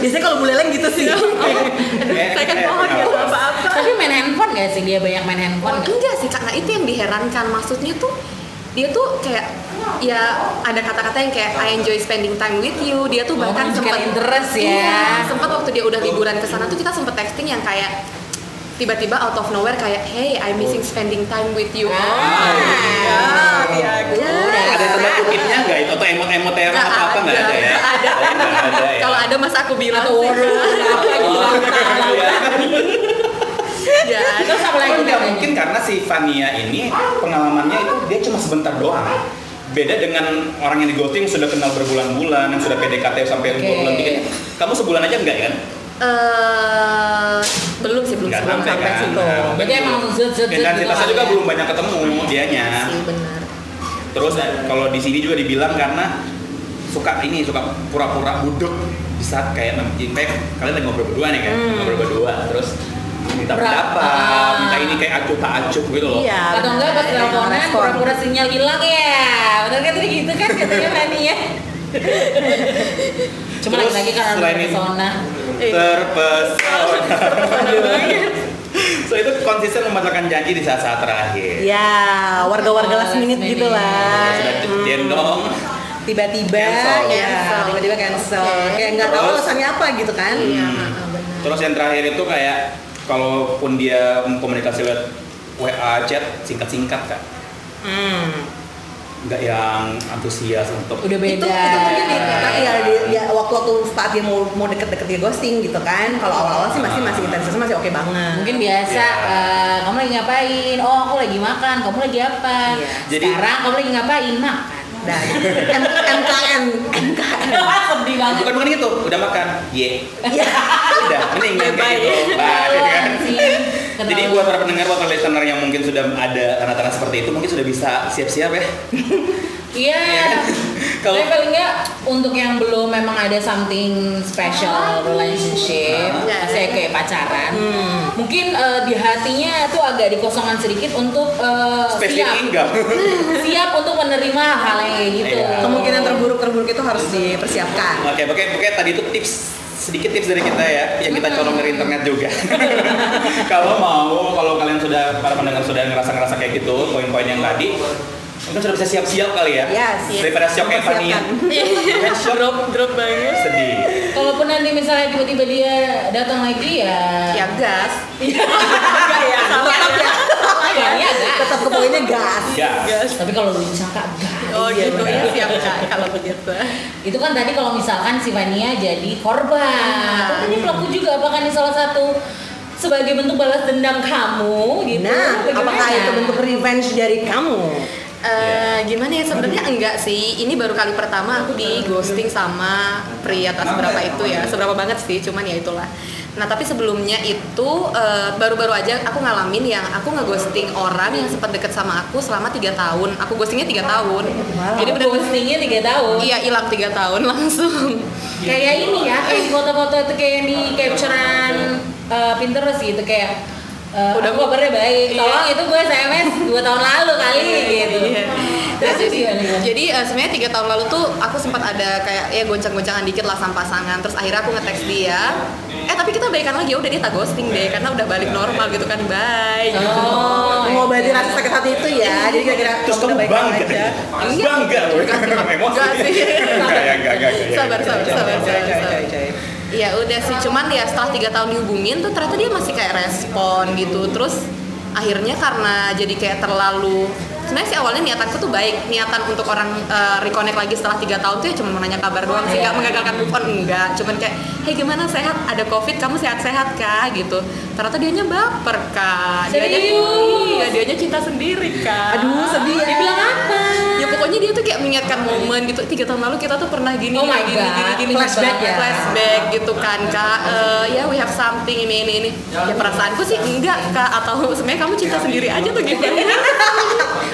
Speaker 3: Biasanya kalau buleleng gitu sih.
Speaker 1: Eh,
Speaker 2: saya kan
Speaker 1: eh,
Speaker 2: mohon ya
Speaker 1: kenapa?
Speaker 2: apa-apa
Speaker 4: Tapi main handphone gak sih dia banyak main handphone? nggak?
Speaker 2: enggak sih karena itu yang diherankan maksudnya tuh dia tuh kayak ya ada kata-kata yang kayak I enjoy spending time with you dia tuh
Speaker 4: Oh,
Speaker 2: bahkan
Speaker 4: menunjukkan
Speaker 2: sempat
Speaker 4: interest ya.
Speaker 2: Iya, sempat waktu dia udah liburan ke sana tuh kita sempat texting yang kayak tiba-tiba out of nowhere kayak hey I'm missing spending time with you
Speaker 4: Ah,
Speaker 2: iya.
Speaker 3: iya.
Speaker 2: Iya.
Speaker 1: ada tanda kutipnya nggak itu atau emot-emot yang
Speaker 2: Nggak
Speaker 1: apa-apa nggak ada ya
Speaker 2: nggak ada.
Speaker 1: Oh, nggak ada ya
Speaker 2: kalau ada mas aku bilang
Speaker 4: Atau waduh, apa gitu
Speaker 1: Oh,
Speaker 2: (laughs) ya
Speaker 4: Terus apa lagi
Speaker 1: Tapi nggak
Speaker 4: namanya?
Speaker 1: mungkin karena si Fania ini pengalamannya itu dia cuma sebentar doang. Beda dengan orang yang di ghosting sudah kenal berbulan-bulan, yang sudah PDKT sampai
Speaker 4: Oke.
Speaker 1: bulan tiga. Kamu sebulan aja enggak kan?
Speaker 2: eh belum sih belum
Speaker 1: Nggak
Speaker 2: sebelum
Speaker 1: sampai
Speaker 2: sampai
Speaker 1: kan?
Speaker 2: situ
Speaker 1: Nah, mungkin
Speaker 4: Jadi emang
Speaker 1: belum.
Speaker 4: zut-zut-zut gitu
Speaker 1: Intensitasnya juga
Speaker 4: kali ya?
Speaker 1: belum banyak ketemu dianya.
Speaker 2: sih benar
Speaker 1: Terus eh, kalau di sini juga dibilang karena suka ini suka pura-pura budek di saat kayak nem- kayak kalian lagi ngobrol berdua nih kan
Speaker 3: Hmm.
Speaker 1: ngobrol berdua terus minta
Speaker 4: Berapa?
Speaker 1: pendapat minta ini kayak acuh tak acuh gitu loh
Speaker 3: Iya.
Speaker 4: Atau enggak pas teleponan pura-pura sinyal hilang ya? Bener kan tadi gitu kan katanya Fani
Speaker 1: (laughs)
Speaker 4: ya? Cuma
Speaker 1: Terus,
Speaker 4: lagi-lagi karena
Speaker 1: selain ini-
Speaker 4: persona.
Speaker 1: terpesona. so itu konsisten membatalkan janji di saat-saat terakhir.
Speaker 3: Ya, warga-warga
Speaker 4: Oh,
Speaker 3: last minute
Speaker 4: last
Speaker 3: gitu
Speaker 4: minute.
Speaker 3: lah.
Speaker 1: Sudah
Speaker 3: Hmm.
Speaker 1: gendong.
Speaker 3: Tiba-tiba,
Speaker 1: Cancel.
Speaker 3: ya,
Speaker 2: Cancel.
Speaker 3: tiba-tiba cancel.
Speaker 2: Oke.
Speaker 3: Kayak nggak tahu
Speaker 1: Terus?
Speaker 3: alasannya apa gitu kan?
Speaker 2: iya
Speaker 1: Hmm.
Speaker 2: heeh, benar
Speaker 1: Terus yang terakhir itu kayak kalaupun dia komunikasi lewat WA chat singkat-singkat kan,
Speaker 3: Hmm.
Speaker 1: nggak yang antusias untuk
Speaker 4: Udah beda.
Speaker 3: Itu itu mungkin di, ya, di- ya, waktu-waktu saat dia mau mau deket-deket dia ghosting gitu kan. Kalau awal-awal sih masih masih intensitasnya masih oke banget.
Speaker 4: Mungkin biasa,
Speaker 1: Iya.
Speaker 4: eh, kamu lagi ngapain? Oh aku lagi makan, kamu lagi apa?
Speaker 3: Iya.
Speaker 1: Jadi-
Speaker 4: Sekarang kamu lagi ngapain? Makan.
Speaker 3: dan M- MKM MKM.
Speaker 4: Sedih banget.
Speaker 1: bukan bukan gitu, udah makan, ye,
Speaker 3: Ya.
Speaker 4: Iya.
Speaker 1: udah, mending gitu, bye, gitu kan.
Speaker 4: Sih. kenal.
Speaker 1: Jadi buat para pendengar, buat para listener yang mungkin sudah ada tanda-tanda seperti itu, mungkin sudah bisa siap-siap ya.
Speaker 4: Iya.
Speaker 1: Kalau-
Speaker 4: Tapi paling nggak untuk yang belum memang ada something special relationship,
Speaker 2: Ah.
Speaker 4: saya kayak pacaran, mungkin eh, di hatinya tuh agak dikosongan sedikit untuk eh,
Speaker 1: Spesial
Speaker 4: siap
Speaker 1: income.
Speaker 4: siap untuk menerima hal yang kayak gitu.
Speaker 1: Iya.
Speaker 3: Kemungkinan terburuk-terburuk itu harus dipersiapkan.
Speaker 1: Oke, pokoknya, pokoknya tadi itu tips sedikit tips dari kita ya yang kita colong dari internet juga. (laughs) kalau mau, kalau kalian sudah para pendengar sudah ngerasa-ngerasa kayak gitu, poin-poin yang tadi, mungkin sudah bisa siap-siap kali ya.
Speaker 3: Yes, yes.
Speaker 1: Daripada siap kayak Fanny.
Speaker 3: Mempersiapkan.
Speaker 1: Kan shock.
Speaker 2: drop banget
Speaker 1: Sedih.
Speaker 4: Kalaupun nanti misalnya tiba-tiba dia datang lagi ya,
Speaker 2: ya gas
Speaker 3: Enggak ya,
Speaker 2: Salah
Speaker 3: tetap Iya. ya.
Speaker 4: kayaknya agak.
Speaker 3: Tetap ke poinnya gas.
Speaker 1: Gas.
Speaker 2: gas
Speaker 4: ya. Tapi kalau lu disangka enggak.
Speaker 2: oh
Speaker 3: Iya,
Speaker 2: gitu ya
Speaker 3: benar.
Speaker 2: siap kak kalau begitu
Speaker 4: Itu kan tadi kalau misalkan si Vania jadi
Speaker 2: Iya.
Speaker 4: korban, ini pelaku juga apakah ini salah satu sebagai bentuk balas dendam kamu gitu?
Speaker 3: Nah,
Speaker 4: Bagaimana?
Speaker 3: apakah itu bentuk revenge dari kamu?
Speaker 2: Eh, gimana ya sebenarnya enggak sih ini baru kali pertama aku di ghosting sama pria tak seberapa itu ya seberapa banget sih cuman ya itulah nah tapi sebelumnya itu eh, baru-baru aja aku ngalamin yang aku ngeghosting orang yang sempat deket sama aku selama tiga tahun aku ghostingnya tiga tahun jadi
Speaker 4: Jadi
Speaker 2: bener
Speaker 4: ghostingnya tiga tahun.
Speaker 2: iya hilang tiga tahun (laughs) langsung
Speaker 4: Kayak ini ya, kayak di foto-foto itu kayak yang di
Speaker 2: Iya.
Speaker 4: capturean eh, Pinterest gitu kayak eh,
Speaker 2: Udah
Speaker 4: Udah kabarnya baik,
Speaker 2: Iya.
Speaker 4: tolong itu gue SMS 2 tahun lalu kali gitu.
Speaker 2: Iya. Nah,
Speaker 4: Terus
Speaker 2: jadi
Speaker 4: gimana, gimana?
Speaker 2: jadi eh, sebenarnya tiga tahun lalu tuh aku sempat ada kayak ya goncang-goncangan dikit lah sama pasangan. Terus akhirnya aku ngeteks dia. Eh tapi kita baikan lagi ya udah dia tak ghosting deh karena udah balik normal gitu kan bye.
Speaker 4: Oh,
Speaker 3: Mengobati
Speaker 4: iya.
Speaker 3: rasa sakit hati itu ya. Jadi kira-kira
Speaker 1: Terus kamu
Speaker 3: udah baik-baik
Speaker 1: bangga. gitu.
Speaker 3: aja. Iya.
Speaker 1: Bangga loh. Emosi.
Speaker 2: Enggak
Speaker 1: Enggak,
Speaker 2: sih.
Speaker 1: ya, enggak, enggak, enggak, ya.
Speaker 2: Sabar, sabar, sabar,
Speaker 3: Coy,
Speaker 2: sabar.
Speaker 3: coy, coy, coy.
Speaker 2: Ya udah sih cuman ya setelah tiga tahun dihubungin tuh ternyata dia masih kayak respon gitu. Terus akhirnya karena jadi kayak terlalu sebenarnya sih awalnya niatanku tuh baik niatan untuk orang eh, reconnect lagi setelah tiga tahun tuh ya cuma nanya kabar doang sih nggak
Speaker 4: Iya.
Speaker 2: menggagalkan move on enggak cuman kayak hey gimana sehat ada covid kamu sehat-sehat kak gitu ternyata dianya baper kak dianya
Speaker 4: Serius?
Speaker 2: iya dianya cinta sendiri kak
Speaker 3: Aduh, sedih ya.
Speaker 2: dibilang apa ya pokoknya dia tuh kayak mengingatkan momen gitu tiga tahun lalu kita tuh pernah gini
Speaker 4: Oh my
Speaker 2: gini, gini,
Speaker 4: God.
Speaker 2: gini, gini,
Speaker 3: Flashback
Speaker 2: gini,
Speaker 3: ya?
Speaker 2: flashback gitu kan kak Eh, ya we have something ini ini ini ya perasaanku sih enggak kak atau (laughs) sebenarnya kamu cinta sendiri aja tuh gitu. gimana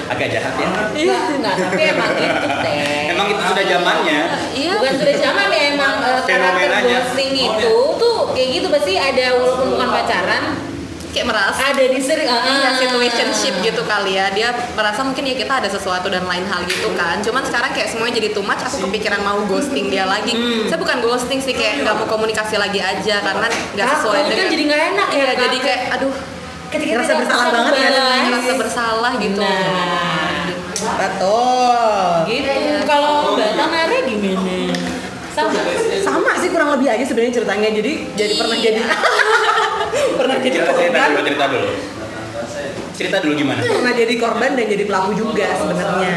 Speaker 1: Agak jahat ya.
Speaker 2: Iya.
Speaker 4: Enggak, enggak, tapi emang gitu teh.
Speaker 1: Emang itu sudah zamannya.
Speaker 2: iya
Speaker 4: bukan sudah zaman ya emang eh, karakter
Speaker 1: Fenomenanya.
Speaker 4: ghosting itu tuh kayak gitu pasti ada walaupun bukan pacaran
Speaker 2: (laughs) kayak merasa
Speaker 4: ada di sering
Speaker 2: Iya,
Speaker 4: Hmm.
Speaker 2: situationship gitu kali ya dia merasa mungkin ya kita ada sesuatu dan lain hal gitu kan cuman sekarang kayak semuanya jadi too much aku
Speaker 4: Hmm.
Speaker 2: kepikiran mau ghosting dia lagi saya bukan ghosting sih kayak nggak mau komunikasi lagi aja karena nggak sesuai
Speaker 4: Takut kan
Speaker 2: dengan
Speaker 4: jadi nggak enak ya,
Speaker 2: Iya, jadi
Speaker 4: takut.
Speaker 2: kayak aduh
Speaker 4: ketika
Speaker 3: Ngerasa
Speaker 4: tidak
Speaker 3: bersalah
Speaker 4: satu
Speaker 3: banget ya,
Speaker 4: balas.
Speaker 2: ngerasa bersalah gitu
Speaker 4: nah
Speaker 3: Betul.
Speaker 4: gitu kalau mbak Tamara gimana sama
Speaker 3: Sama sih kurang lebih aja sebenarnya ceritanya. Jadi jadi pernah
Speaker 4: Gitu. Iya.
Speaker 3: jadi (laughs) pernah jadi
Speaker 1: Cerita cerita
Speaker 3: korban,
Speaker 1: dulu, cerita dulu. Cerita dulu gimana?
Speaker 3: pernah jadi korban dan jadi pelaku juga sebenarnya.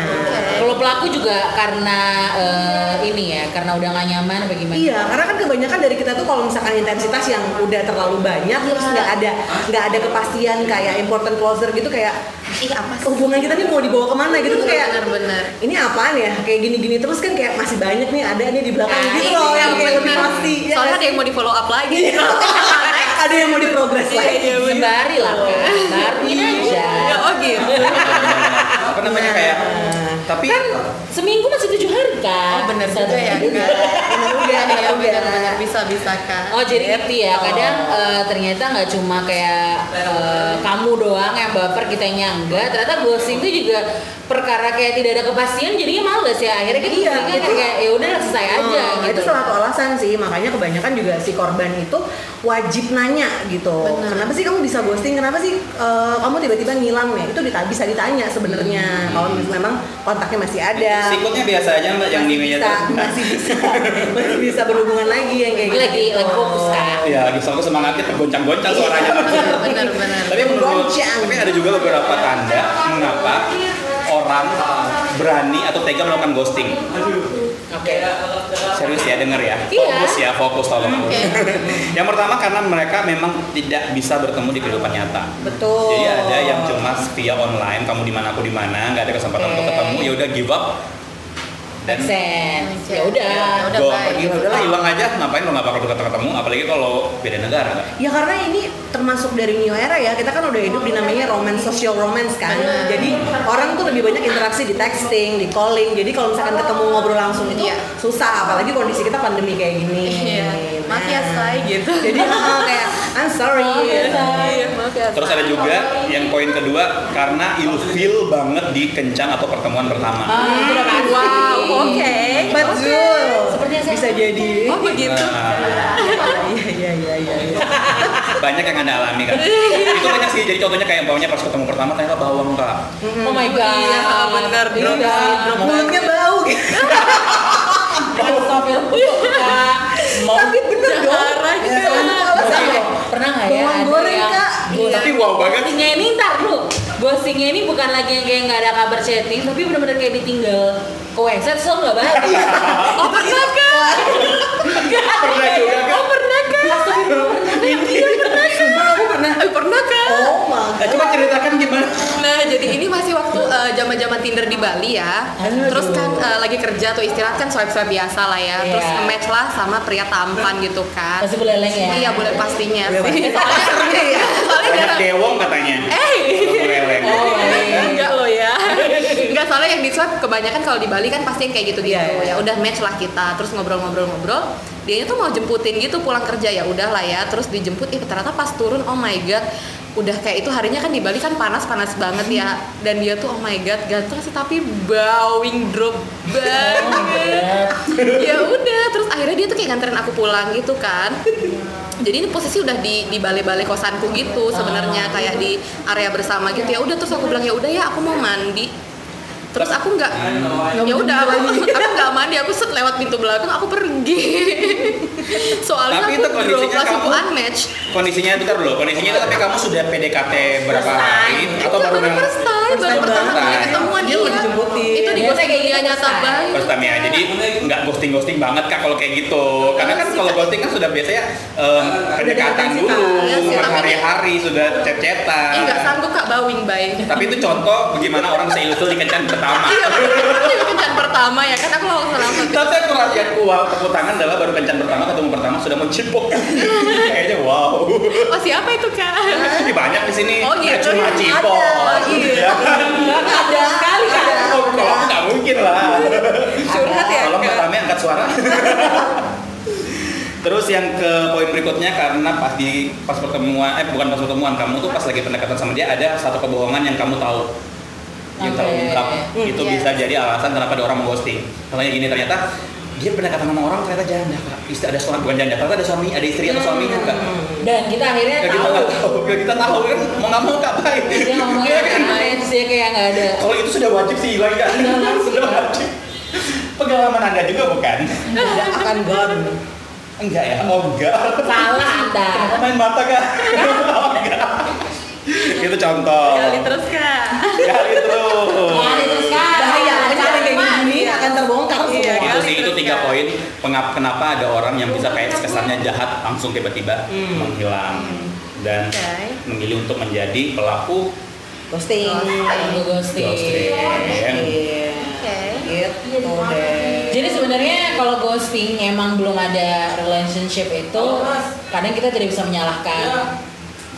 Speaker 4: kalau pelaku juga karena eh, ini ya karena udah gak nyaman apa gimana
Speaker 3: Iya, karena kan kebanyakan dari kita tuh kalau misalkan intensitas yang udah terlalu banyak terus nggak
Speaker 4: Iya.
Speaker 3: ada nggak ada kepastian kayak important closer gitu kayak ih apa sih? hubungan kita nih mau dibawa kemana gitu tuh kayak
Speaker 2: benar-benar
Speaker 3: ini apaan ya kayak gini-gini terus kan kayak masih banyak nih ada nih di belakang
Speaker 2: Nah,
Speaker 3: gitu
Speaker 2: itu yang
Speaker 3: loh yang Iya. kayak lebih
Speaker 2: bener.
Speaker 3: pasti ya
Speaker 2: soalnya kan
Speaker 3: nggak
Speaker 2: ada yang mau di follow up lagi
Speaker 3: sih? (laughs) ada yang mau diprogres
Speaker 4: Iya,
Speaker 3: lagi
Speaker 4: sembari lah kan barengin aja
Speaker 2: ya oh gitu
Speaker 1: Apa namanya kayak? Tapi
Speaker 4: kan seminggu masih tujuh hari kan
Speaker 2: oh benar juga ya
Speaker 4: Satu-
Speaker 2: enggak
Speaker 3: juga, Iya, bener juga.
Speaker 2: benar-benar bisa bisa kan
Speaker 4: Oh jadi ngerti ya, kadang eh, ternyata nggak cuma kayak eh, kamu doang yang baper kita yang enggak Ternyata ghosting itu juga perkara kayak tidak ada kepastian jadinya males ya Akhirnya kita
Speaker 3: Iya,
Speaker 4: juga kayak,
Speaker 3: itu-
Speaker 4: kayak ya udah selesai aja
Speaker 3: Hmm,
Speaker 4: gitu
Speaker 3: Itu salah satu alasan sih, makanya kebanyakan juga si korban itu wajib nanya gitu.
Speaker 2: Benar.
Speaker 3: Kenapa sih kamu bisa ghosting? Kenapa sih eh, kamu tiba-tiba ngilang ya? Itu dita- bisa ditanya sebenarnya. Kalau memang kontaknya masih ada.
Speaker 1: sikutnya biasa aja mbak yang di
Speaker 3: masih
Speaker 1: meja
Speaker 3: bisa, masih bisa, (laughs) masih bisa berhubungan lagi yang kayak
Speaker 4: Ini lagi
Speaker 3: gitu.
Speaker 4: lagi fokus kan
Speaker 1: (laughs) Iya lagi soalnya semangatnya tergoncang-goncang suaranya.
Speaker 2: benar-benar
Speaker 1: tapi menurut
Speaker 3: Goncang.
Speaker 1: tapi ada juga beberapa tanda mengapa orang eh, berani atau tega melakukan ghosting.
Speaker 4: Oke
Speaker 1: Serius ya denger ya.
Speaker 4: Iya.
Speaker 1: Fokus ya, fokus tolong.
Speaker 2: Oke.
Speaker 1: (laughs) yang pertama karena mereka memang tidak bisa bertemu di kehidupan nyata.
Speaker 3: Betul.
Speaker 1: Jadi ada yang cuma via online, kamu di mana aku di mana, nggak ada kesempatan
Speaker 4: Oke.
Speaker 1: untuk ketemu, ya udah give up. Dan
Speaker 4: make sense.
Speaker 2: Ya
Speaker 4: Ya udah.
Speaker 2: udah,
Speaker 1: bawa
Speaker 2: bye.
Speaker 1: pergi lah, udahlah hilang aja ngapain lo nggak bakal tetap ketemu apalagi kalau beda negara kan?
Speaker 3: Ya karena ini termasuk dari new era ya, kita kan udah hidup di namanya romance, social romance kan. Jadi orang tuh lebih banyak interaksi di texting, di calling. Jadi kalau misalkan ketemu ngobrol langsung itu
Speaker 2: Iya.
Speaker 3: susah, apalagi kondisi kita pandemi kayak gini.
Speaker 2: Iya. Maaf
Speaker 3: Nah.
Speaker 2: ya, Shay, gitu. Iya,
Speaker 3: Jadi oh, kayak I'm sorry.
Speaker 4: Maaf ya, Shay.
Speaker 2: Maaf ya,
Speaker 1: Terus ada juga yang poin kedua karena you feel banget di kencang atau pertemuan pertama.
Speaker 4: Ah, itu udah pasti.
Speaker 2: Wow, oke.
Speaker 3: Iya. But
Speaker 2: Oke.
Speaker 3: Zul,
Speaker 4: Sepertinya saya-
Speaker 3: bisa jadi.
Speaker 2: Oh begitu.
Speaker 1: Nah,
Speaker 3: Iya iya iya iya. iya.
Speaker 1: banyak yang anda alami
Speaker 2: (laughs)
Speaker 1: kan. Itu banyak sih. Jadi contohnya kayak baunya pas ketemu pertama ternyata bawang kak.
Speaker 4: Oh my god.
Speaker 2: Iya, bener.
Speaker 4: Iya.
Speaker 3: Mulutnya bau.
Speaker 4: Astagfirullah, Kak. Mau
Speaker 3: (laughs) Tapi bener dong.
Speaker 2: Jarang
Speaker 3: Ya,
Speaker 2: gitu.
Speaker 3: sama alasan
Speaker 4: Oke,
Speaker 3: loh.
Speaker 4: pernah nggak ya
Speaker 3: Bawang
Speaker 4: ada
Speaker 3: goreng,
Speaker 4: yang
Speaker 3: Kak.
Speaker 4: gosip-
Speaker 1: Tapi wow banget.
Speaker 4: ghostingnya ini ntar lu ghostingnya ini bukan lagi yang kayak nggak ada kabar chatting tapi bener-bener kayak ditinggal ke website so nggak balik
Speaker 1: Iya.
Speaker 4: oh pernah kan
Speaker 1: Pernah
Speaker 2: iya,
Speaker 1: juga kan?
Speaker 4: oh pernah kan Iya, pernah
Speaker 3: Sumpah aku pernah.
Speaker 2: Eh, pernah kan?
Speaker 3: Oh my
Speaker 1: Nah, coba ceritakan gimana?
Speaker 2: Nah, jadi ini masih waktu eh, zaman-zaman Tinder di Bali ya.
Speaker 4: Aduh.
Speaker 2: Terus kan eh, lagi kerja atau istirahat kan swipe-swipe biasa lah ya. Terus
Speaker 4: Iya.
Speaker 2: match lah sama pria tampan gitu kan.
Speaker 4: Pasti buleleng ya?
Speaker 2: Iya, boleh pastinya
Speaker 3: Boleh
Speaker 2: sih.
Speaker 3: pastinya.
Speaker 2: Soalnya, soalnya
Speaker 1: Banyak
Speaker 2: jarang-
Speaker 1: dewong katanya.
Speaker 2: Eh.
Speaker 1: Satu leleng.
Speaker 4: Oh, iya.
Speaker 2: enggak lo ya (laughs) enggak soalnya yang di swipe kebanyakan kalau di Bali kan pasti yang kayak gitu gitu
Speaker 3: Iya, iya.
Speaker 2: ya udah match lah kita terus ngobrol-ngobrol-ngobrol dia tuh mau jemputin gitu pulang kerja ya udah lah ya terus dijemput ih ternyata pas turun oh my god udah kayak itu harinya kan di Bali kan panas panas banget ya dan dia tuh oh my god ganteng sih tapi bawing drop banget ya udah terus akhirnya dia tuh kayak nganterin aku pulang gitu kan jadi ini posisi udah di di balai-balai kosanku gitu sebenarnya
Speaker 1: Ah.
Speaker 2: kayak di area bersama gitu ya udah terus aku bilang ya udah ya aku mau mandi terus aku nggak ya udah aku aku nggak mandi aku set lewat pintu belakang aku pergi (laughs) soalnya
Speaker 1: Tapi
Speaker 2: aku
Speaker 1: itu
Speaker 2: drop
Speaker 1: kondisinya
Speaker 2: langsung aku
Speaker 1: kamu-
Speaker 2: unmatch
Speaker 1: Kondisinya bentar loh, kondisinya itu tapi kamu sudah PDKT berapa
Speaker 4: First time.
Speaker 1: hari atau
Speaker 2: Itu
Speaker 1: baru
Speaker 2: baru
Speaker 1: memang
Speaker 2: first time,
Speaker 3: First
Speaker 2: baru
Speaker 3: time
Speaker 2: pertama
Speaker 1: banget.
Speaker 2: kali ketemuan
Speaker 3: Dia
Speaker 2: iya.
Speaker 3: udah dijemputin.
Speaker 2: itu di
Speaker 4: Biasanya
Speaker 2: ghosting
Speaker 4: kayak gitu
Speaker 2: dunia nyata
Speaker 4: first time.
Speaker 2: banget
Speaker 1: First time ya, jadi nggak ghosting-ghosting banget kak kalau kayak gitu Karena kan kalau ghosting kan sudah biasanya em, pendekatan dulu,
Speaker 2: Iya sih, tapi-
Speaker 1: berhari-hari sudah
Speaker 2: Eh, nggak
Speaker 1: chat-chatan
Speaker 2: sanggup kak bawing (laughs) baik
Speaker 1: Tapi itu contoh bagaimana orang bisa ilfil di kencan pertama
Speaker 2: iya itu kencan pertama ya kan aku langsung langsung
Speaker 1: Tapi aku perhatian wow, tepuk tangan adalah baru kencan pertama, ketemu pertama sudah mau
Speaker 2: (laughs)
Speaker 1: cipok Kayaknya wow
Speaker 2: oh siapa itu kak
Speaker 1: Ini banyak di sini,
Speaker 2: Oh,
Speaker 1: nggak
Speaker 2: gitu.
Speaker 1: cuma cipok
Speaker 3: Ada,
Speaker 2: iya.
Speaker 1: (laughs) Ya kan?
Speaker 4: nggak ada sekali kan
Speaker 1: Oh, kalau aku nggak mungkin lah
Speaker 2: curhat ya
Speaker 1: Tolong Mbak
Speaker 2: kak
Speaker 1: Tami angkat
Speaker 2: (laughs)
Speaker 1: suara. Terus yang ke poin berikutnya karena pas di pas pertemuan eh bukan pas pertemuan kamu tuh pas lagi pendekatan sama dia ada satu kebohongan yang kamu tahu yang
Speaker 4: Oke.
Speaker 1: terungkap
Speaker 4: Hmm,
Speaker 1: itu
Speaker 2: Oh, iya.
Speaker 1: bisa jadi alasan kenapa ada orang ghosting. Contohnya gini ternyata dia pendekatan sama orang ternyata janda kak istri ada suami bukan janda ternyata ada suami ada istri atau
Speaker 2: Hmm.
Speaker 1: suaminya kak
Speaker 2: Eh,
Speaker 4: dan kita akhirnya
Speaker 1: ya kita
Speaker 4: tahu
Speaker 1: nggak tahu ya kita tahu kan mau nggak mau kak baik
Speaker 2: Iya,
Speaker 1: Iya, kan?
Speaker 4: dia ngomongnya aneh dia kayak nggak ada
Speaker 1: kalau itu sudah wajib sih hilang kak
Speaker 4: Iya, wajib.
Speaker 1: sudah wajib pengalaman anda juga bukan
Speaker 3: Tidak akan gone.
Speaker 1: enggak ya oh enggak
Speaker 4: salah anda
Speaker 1: Kamu main mata kah? Oh, enggak. itu contoh.
Speaker 2: kali terus kak
Speaker 1: Gali terus.
Speaker 4: Nah, itu sekarang.
Speaker 3: Bahaya, pokoknya hal yang kayak
Speaker 4: Cuman,
Speaker 3: gini akan terbongkar
Speaker 2: Iya,
Speaker 1: Itu
Speaker 3: semua.
Speaker 4: kan?
Speaker 1: sih
Speaker 2: Gali
Speaker 1: itu
Speaker 2: terus,
Speaker 1: tiga
Speaker 2: Kak.
Speaker 1: poin pengap kenapa ada orang yang bisa kayak kesannya jahat langsung tiba-tiba menghilang dan
Speaker 2: Hmm. Oke.
Speaker 1: memilih untuk menjadi pelaku
Speaker 3: Ghosting.
Speaker 4: Gue ghosting.
Speaker 1: ghosting.
Speaker 3: Iya.
Speaker 2: Oke.
Speaker 3: Gitu
Speaker 2: Iya.
Speaker 3: deh.
Speaker 4: Jadi sebenarnya kalau ghosting emang belum ada relationship itu, kadang kita tidak bisa
Speaker 2: Iya.
Speaker 4: menyalahkan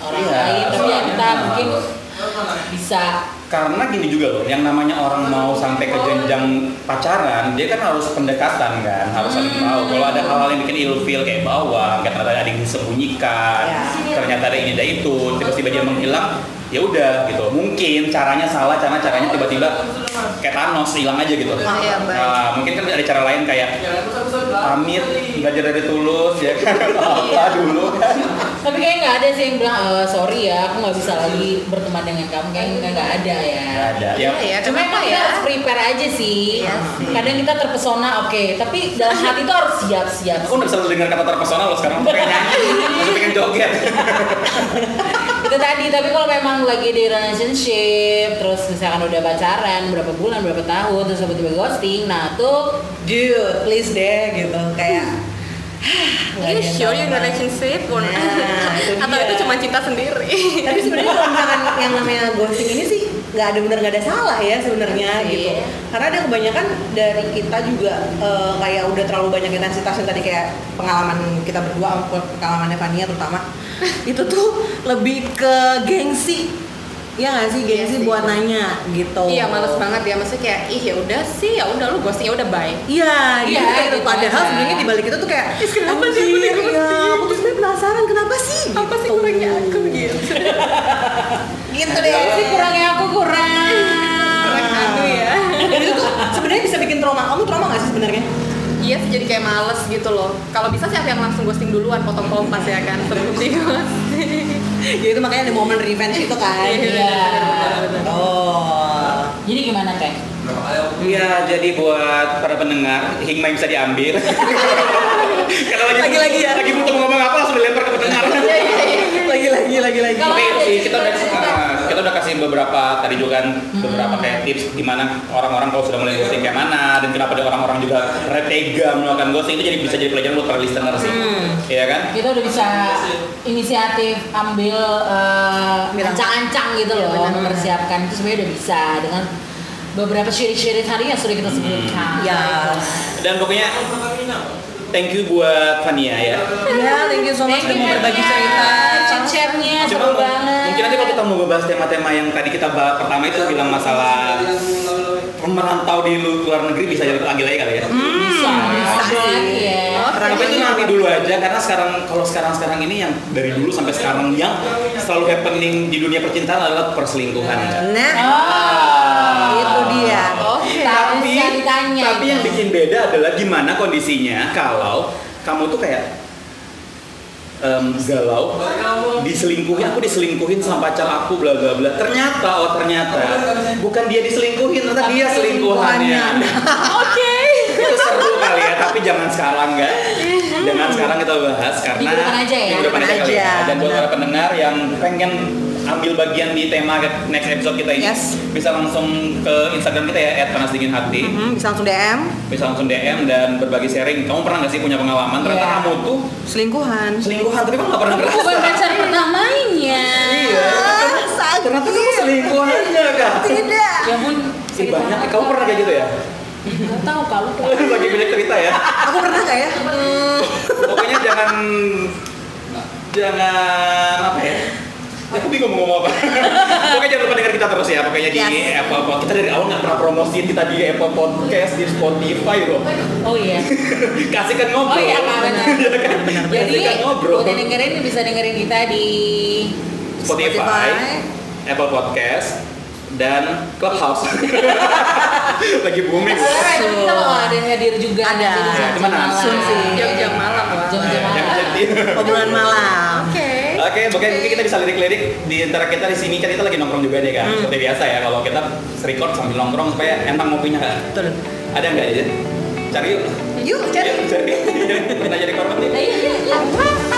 Speaker 4: orang
Speaker 1: Iya.
Speaker 4: lain, tapi ya kita mungkin bisa.
Speaker 1: Karena gini juga loh, yang namanya orang mau sampai ke jenjang pacaran, dia kan harus pendekatan kan, harus saling
Speaker 2: Hmm.
Speaker 1: tahu. Kalau ada hal-hal yang bikin ilfil kayak bawang, kayak ternyata ada yang disembunyikan,
Speaker 3: Ya.
Speaker 1: ternyata ada ini ada itu, tiba-tiba dia menghilang, ya udah gitu. Mungkin caranya salah, karena caranya tiba-tiba kayak Thanos hilang aja gitu.
Speaker 2: Ah, iya, baik.
Speaker 1: Nah, mungkin kan ada cara lain kayak pamit, belajar dari tulus ya kan,
Speaker 2: Iya.
Speaker 1: apa dulu kan.
Speaker 4: Tapi kayaknya nggak ada sih yang bilang "Eh, sorry ya, aku nggak bisa lagi berteman dengan kamu. Kayaknya nggak- nggak ada ya.
Speaker 1: Nggak ada. Ya,
Speaker 2: ya
Speaker 4: Cuma
Speaker 2: kenapa
Speaker 4: emang kita harus prepare aja sih.
Speaker 2: Iya sih.
Speaker 4: Kadang kita terpesona, oke, tapi dalam hati itu harus siap-siap.
Speaker 1: aku udah bisa dengar kata terpesona loh sekarang, aku pengen nyanyi, aku pengen joget.
Speaker 4: itu tadi tapi kalau memang lagi di relationship terus misalkan udah pacaran berapa bulan berapa tahun terus tiba-tiba ghosting nah tuh
Speaker 3: Dude, please deh gitu kayak (sighs)
Speaker 4: Nggak
Speaker 2: Are you
Speaker 4: ada yang
Speaker 2: Iya, sure you in
Speaker 4: gampang.
Speaker 2: relationship or not?
Speaker 3: Nah, itu
Speaker 2: atau
Speaker 3: dia.
Speaker 2: itu cuma cinta sendiri?
Speaker 3: tapi sebenarnya kalau misalkan yang namanya ghosting ini sih nggak ada benar nggak ada salah ya sebenarnya
Speaker 2: Iya.
Speaker 3: gitu karena ada kebanyakan dari kita juga eh, kayak udah terlalu banyak intensitas yang tadi kayak pengalaman kita berdua eh, pengalamannya Fania
Speaker 2: (laughs)
Speaker 3: terutama itu tuh lebih ke gengsi ya nggak sih
Speaker 2: Iya
Speaker 3: gengsi
Speaker 2: sih.
Speaker 3: buat nanya gitu
Speaker 2: Iya, males banget ya. Maksudnya kayak ih ya udah sih, ya udah lu ghosting, ya udah bye.
Speaker 3: Iya,
Speaker 4: Iya,
Speaker 3: gitu.
Speaker 4: gitu
Speaker 3: padahal
Speaker 4: aja.
Speaker 3: sebenarnya di balik itu tuh kayak
Speaker 2: Is, kenapa sih aku
Speaker 3: "Anjir,
Speaker 2: dikunci?"
Speaker 3: ya, aku tuh sebenarnya penasaran kenapa sih?
Speaker 2: Apa sih
Speaker 3: gitu.
Speaker 2: kurangnya aku gitu?
Speaker 3: Gitu
Speaker 4: Iya
Speaker 3: deh.
Speaker 4: sih kurangnya aku kurang.
Speaker 2: Kurang aku ya.
Speaker 3: Dan Nah, itu tuh sebenarnya bisa bikin trauma. Kamu trauma gak sih sebenarnya?
Speaker 2: Iya sih jadi kayak males gitu loh. Kalau bisa sih aku yang langsung ghosting duluan, potong kompas ya kan sebelum di ghosting.
Speaker 3: (laughs) Ya itu makanya ada momen revenge itu kan.
Speaker 4: Iya.
Speaker 3: Oh.
Speaker 4: Jadi gimana teh?
Speaker 1: Iya, jadi buat para pendengar, hikmah yang bisa
Speaker 3: (laughs)
Speaker 1: diambil. Karena lagi
Speaker 3: Lagi-lagi ya. Iya,
Speaker 1: lagi butuh ngomong apa langsung dilempar ke pendengar.
Speaker 3: Lagi lagi lagi lagi.
Speaker 4: Kalau-
Speaker 1: Tapi
Speaker 4: ada
Speaker 1: sih,
Speaker 4: sih,
Speaker 1: kita udah
Speaker 4: kalau ada.
Speaker 1: ah, kita udah kasih beberapa tadi juga kan
Speaker 3: Hmm.
Speaker 1: beberapa kayak tips gimana orang-orang kalau sudah mulai ghosting kayak mana dan kenapa ada orang-orang juga retega melakukan ghosting itu jadi bisa jadi pelajaran buat para listener sih.
Speaker 3: Hmm.
Speaker 1: Iya kan?
Speaker 4: Kita udah bisa inisiatif ambil eh,
Speaker 3: Ambil langkah.
Speaker 4: ancang-ancang gitu loh,
Speaker 3: benar.
Speaker 4: mempersiapkan itu sebenarnya udah bisa dengan beberapa syirik-syirik hari yang sudah kita sebutkan.
Speaker 3: Ya.
Speaker 1: Dan pokoknya thank you buat Fania ya.
Speaker 3: Ya, thank you so much udah mau berbagi cerita.
Speaker 4: Chat-chatnya
Speaker 1: Coba
Speaker 4: seru
Speaker 1: mu-
Speaker 4: banget.
Speaker 1: mungkin nanti kalau kita mau bahas tema-tema yang tadi kita bahas pertama itu bilang masalah merantau di lu- luar negeri bisa jadi lagi lagi kali ya.
Speaker 4: Hmm,
Speaker 3: bisa
Speaker 4: bisa,
Speaker 1: Iya,
Speaker 4: bisa
Speaker 3: sih.
Speaker 4: lagi ya.
Speaker 1: Tapi itu nanti dulu aja karena sekarang kalau sekarang sekarang ini yang dari dulu sampai sekarang yang selalu happening di dunia percintaan adalah perselingkuhan.
Speaker 3: Nah,
Speaker 4: Oh,
Speaker 3: itu dia.
Speaker 4: Oke.
Speaker 1: Tapi
Speaker 4: Bisa ditanya
Speaker 1: tapi
Speaker 4: itu.
Speaker 1: yang bikin beda adalah gimana kondisinya kalau kamu tuh kayak em, galau diselingkuhin aku diselingkuhin sama pacar aku bla bla bla ternyata oh ternyata bukan dia diselingkuhin ternyata
Speaker 4: Tapi
Speaker 1: dia selingkuhannya (laughs)
Speaker 4: Oke.
Speaker 1: itu seru kali ya tapi jangan sekarang enggak jangan sekarang kita bahas karena
Speaker 4: Di Hmm. depan aja ya.
Speaker 1: di depan aja kali
Speaker 3: Aja,
Speaker 1: ya. dan buat
Speaker 3: benar.
Speaker 1: para pendengar yang pengen ambil bagian di tema next episode kita ini
Speaker 3: Yes.
Speaker 1: bisa langsung ke Instagram kita ya @panasdinginhati
Speaker 3: Mhm, bisa langsung DM
Speaker 1: bisa langsung DM dan berbagi sharing kamu pernah nggak sih punya pengalaman ternyata
Speaker 4: Iya.
Speaker 1: kamu tuh
Speaker 3: selingkuhan.
Speaker 1: selingkuhan tapi kamu nggak pernah
Speaker 4: Itu
Speaker 1: ngerasa
Speaker 4: bukan pacar pertamanya.
Speaker 3: (laughs)
Speaker 1: iya ternyata kamu selingkuhannya kan
Speaker 3: Tidak.
Speaker 4: Ya ampun.
Speaker 1: Ih, banyak ya. kamu pernah kayak gitu ya
Speaker 4: Gak tahu kalau
Speaker 1: lagi banyak cerita ya
Speaker 3: Aku pernah gak ya?
Speaker 1: pokoknya jangan jangan apa ya aku bingung mau ngomong apa pokoknya jangan lupa dengar kita terus ya pokoknya di
Speaker 3: Yes.
Speaker 1: Apple Podcast kita dari awal nggak pernah promosiin kita di Apple Podcast di Spotify loh
Speaker 4: Oh iya.
Speaker 1: kasihkan ngobrol
Speaker 4: Oh iya, Kak, benar.
Speaker 1: (laughs) Iya kan?
Speaker 4: Jadi
Speaker 1: kasihkan ngobrol
Speaker 4: buat yang dengerin bisa dengerin kita di
Speaker 1: Spotify,
Speaker 3: Spotify.
Speaker 1: Apple Podcast dan
Speaker 4: (laughs)
Speaker 1: Clubhouse lagi booming
Speaker 4: Sebenarnya itu kita bakal ada yang hadir juga
Speaker 3: Ada.
Speaker 4: nanti di jam-jam
Speaker 1: Cuman
Speaker 4: malam.
Speaker 1: langsung
Speaker 3: sih.
Speaker 2: Jam-jam malam lah.
Speaker 4: Jam-jam
Speaker 1: Jangan jadi
Speaker 3: Obrolan malam.
Speaker 2: Oke.
Speaker 1: Oke, mungkin mungkin kita bisa lirik-lirik di antara kita di sini kan kita lagi nongkrong juga nih kan.
Speaker 4: Hmm.
Speaker 1: Seperti biasa ya kalau kita record sambil nongkrong supaya enak ngopinya kan.
Speaker 3: Betul.
Speaker 1: Ada nggak ya? Cari yuk.
Speaker 3: Yuk,
Speaker 1: Yuk,
Speaker 3: cari.
Speaker 1: (laughs) Cari. Kita jadi korban nih.
Speaker 4: Nah, iya, iya, iya.